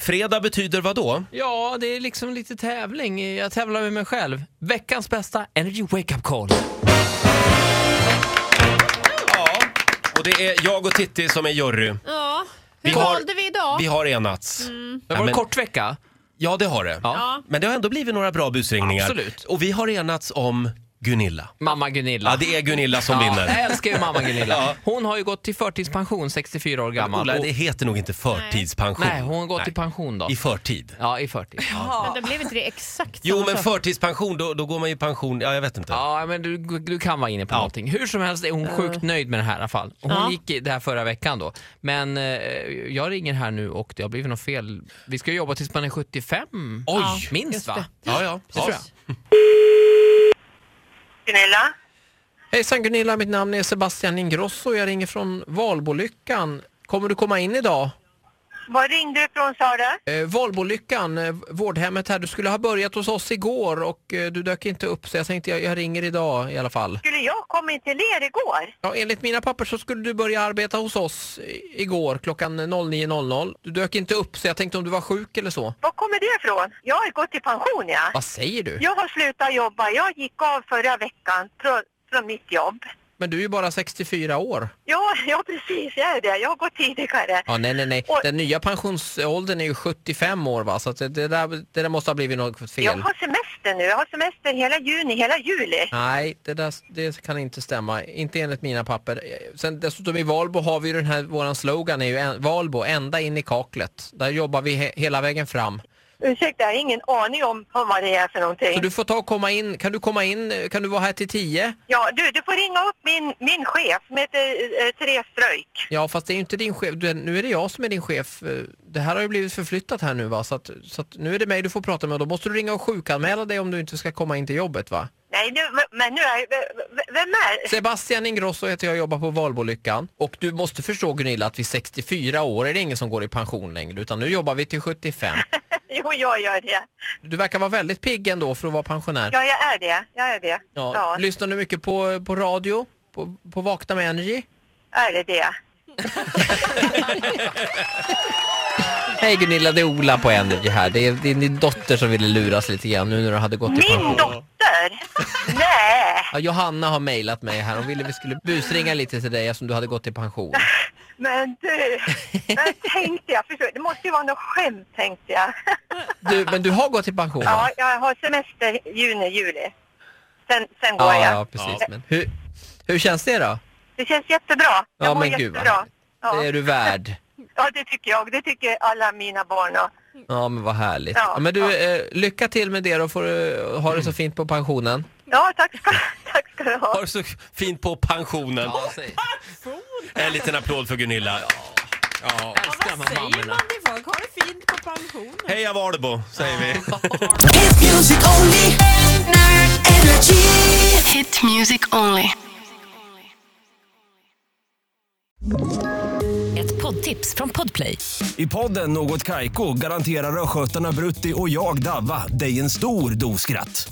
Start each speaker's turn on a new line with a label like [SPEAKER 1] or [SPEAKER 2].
[SPEAKER 1] Fredag betyder vad då?
[SPEAKER 2] Ja, det är liksom lite tävling. Jag tävlar med mig själv. Veckans bästa Energy Wake Up Call.
[SPEAKER 1] Ja. Och det är jag och Titti som är jury.
[SPEAKER 3] Ja. Hur
[SPEAKER 1] Vi har-
[SPEAKER 3] valde vi idag?
[SPEAKER 1] Vi har enats.
[SPEAKER 2] Det
[SPEAKER 1] Ja,
[SPEAKER 2] var en
[SPEAKER 1] men-
[SPEAKER 2] kort vecka.
[SPEAKER 1] Ja, det har det.
[SPEAKER 3] Ja.
[SPEAKER 1] Men det har ändå blivit några bra busringningar.
[SPEAKER 2] Absolut.
[SPEAKER 1] Och vi har enats om Gunilla.
[SPEAKER 2] Mamma Gunilla.
[SPEAKER 1] Ja, det är Gunilla som
[SPEAKER 2] Ja, jag
[SPEAKER 1] vinner.
[SPEAKER 2] älskar ju mamma Gunilla. Hon har ju gått till förtidspension, 64 år gammal.
[SPEAKER 1] Ola,
[SPEAKER 2] Och-
[SPEAKER 1] det heter nog inte förtidspension.
[SPEAKER 2] Nej, hon har gått i
[SPEAKER 1] Nej,
[SPEAKER 2] pension då.
[SPEAKER 1] I förtid.
[SPEAKER 2] Ja, i 40.
[SPEAKER 3] Men det blev inte det exakt
[SPEAKER 1] Jo,
[SPEAKER 3] samma
[SPEAKER 1] men
[SPEAKER 3] sak.
[SPEAKER 1] förtidspension, då, då går man i pension. Ja, jag vet inte.
[SPEAKER 2] Ja, men du, du kan vara inne på
[SPEAKER 1] Ja.
[SPEAKER 2] någonting. Hur som helst är hon sjukt nöjd med det här i alla fall. Hon
[SPEAKER 3] Ja.
[SPEAKER 2] gick i det här förra veckan då. Men eh, jag ringer här nu och det har blivit något fel. Vi ska jobba tills man är 75.
[SPEAKER 1] Oj!
[SPEAKER 3] Ja.
[SPEAKER 2] Minst
[SPEAKER 3] Just
[SPEAKER 2] va?
[SPEAKER 3] det.
[SPEAKER 1] Ja, ja.
[SPEAKER 2] Det tror jag.
[SPEAKER 4] Gunilla?
[SPEAKER 2] Hejsan Gunilla, mitt namn är Sebastian Ingrosso. Jag ringer från Valbolyckan. Kommer du komma in idag?
[SPEAKER 4] Var ringde du ifrån sa du?
[SPEAKER 2] Eh, Valbolyckan, eh, vårdhemmet här. Du skulle ha börjat hos oss igår och eh, du dök inte upp så jag tänkte jag, jag ringer idag i alla fall.
[SPEAKER 4] Skulle jag komma in till er igår?
[SPEAKER 2] Ja, enligt mina papper så skulle du börja arbeta hos oss i- igår klockan 09.00. Du dök inte upp så jag tänkte om du var sjuk eller så.
[SPEAKER 4] Var kommer det ifrån? Jag har gått i pension ja.
[SPEAKER 2] Vad säger du?
[SPEAKER 4] Jag har slutat jobba. Jag gick av förra veckan från, från mitt jobb.
[SPEAKER 2] Men du är ju bara 64 år.
[SPEAKER 4] Ja, ja precis, jag är det. Jag har gått tidigare.
[SPEAKER 2] Ja, nej, nej, nej.
[SPEAKER 4] Och-
[SPEAKER 2] Den nya pensionsåldern är ju 75 år va, så att det, det, där, det där måste ha blivit något
[SPEAKER 4] Jag
[SPEAKER 2] fel.
[SPEAKER 4] har semester nu. Jag har semester hela juni, hela juli.
[SPEAKER 2] Nej, det, där, det kan inte stämma. Inte enligt mina papper. Eh, Sen dessutom i Valbo har vi ju den här, våran slogan är ju en, Valbo, ända in i kaklet. Där jobbar vi he, hela vägen fram.
[SPEAKER 4] Ursäkta, jag har ingen aning om om vad det är för någonting.
[SPEAKER 2] Så du får ta och komma in, kan du komma in, eh, kan du vara här till 10?
[SPEAKER 4] Ja, du, du får ringa upp min, min chef som heter eh, Therese Ströjk.
[SPEAKER 2] Ja, fast det är ju inte din chef. Du, nu är det jag som är din chef. Eh, Det här har ju blivit förflyttat här nu va, så, att, så att nu är det mig du får prata med och då måste du ringa och sjukanmäla dig om du inte ska komma in till jobbet va?
[SPEAKER 4] Nej, nu, men nu är jag... Vem är...
[SPEAKER 2] Sebastian Ingrosso heter jag, jobbar på Valbolyckan och du måste förstå Gunilla att vid 64 år är det ingen som går i pension längre utan nu jobbar vi till 75.
[SPEAKER 4] Jo, jag gör det.
[SPEAKER 2] Du verkar vara väldigt pigg ändå för att vara pensionär.
[SPEAKER 4] Ja, jag är det. Jag är det. Ja,
[SPEAKER 2] Ja, lyssnar du mycket på, på radio? På, på Vakna med Energy?
[SPEAKER 4] är det det.
[SPEAKER 2] Hej Gunilla, det är Ola på Energy här. Det är, det är din dotter som ville luras lite grann nu när du hade gått i
[SPEAKER 4] Min
[SPEAKER 2] pension.
[SPEAKER 4] dotter? Nej,
[SPEAKER 2] Ja, Johanna har mejlat mig här. Hon ville vi skulle busringa lite till dig eftersom du hade gått i pension.
[SPEAKER 4] men du. Men tänkte jag, förstår, du, det måste ju vara något skämt tänkte jag.
[SPEAKER 2] Du, men du har gått i pension? va?
[SPEAKER 4] Ja, jag har semester juni, juli. Sen, sen går
[SPEAKER 2] ja,
[SPEAKER 4] jag.
[SPEAKER 2] ja precis. Men hur, hur känns det då?
[SPEAKER 4] Det känns jättebra. Jag
[SPEAKER 2] Ja,
[SPEAKER 4] mår
[SPEAKER 2] men gud, vad
[SPEAKER 4] jättebra.
[SPEAKER 2] härligt. Det är
[SPEAKER 4] Ja.
[SPEAKER 2] du värd.
[SPEAKER 4] ja, det tycker jag. Det tycker alla mina barn. Och,
[SPEAKER 2] Ja, men vad härligt.
[SPEAKER 4] Ja,
[SPEAKER 2] Ja, men du,
[SPEAKER 4] ja.
[SPEAKER 2] eh, lycka till med det då får du ha det så fint på pensionen.
[SPEAKER 4] ja, tack ska, tack ska du ha.
[SPEAKER 1] Har det så fint på pensionen. En liten applåd för Gunilla. Ja.
[SPEAKER 3] Ja, vad säger man till folk? Har det fint på pensionen.
[SPEAKER 1] Heja Valbo, säger vi.
[SPEAKER 5] Hit music only. Nerd energy.
[SPEAKER 6] Hit music only.
[SPEAKER 7] Ett poddtips från Podplay.
[SPEAKER 8] I podden Något Kaiko garanterar östgötarna Brutti och jag, Davva, dig en stor dos skratt.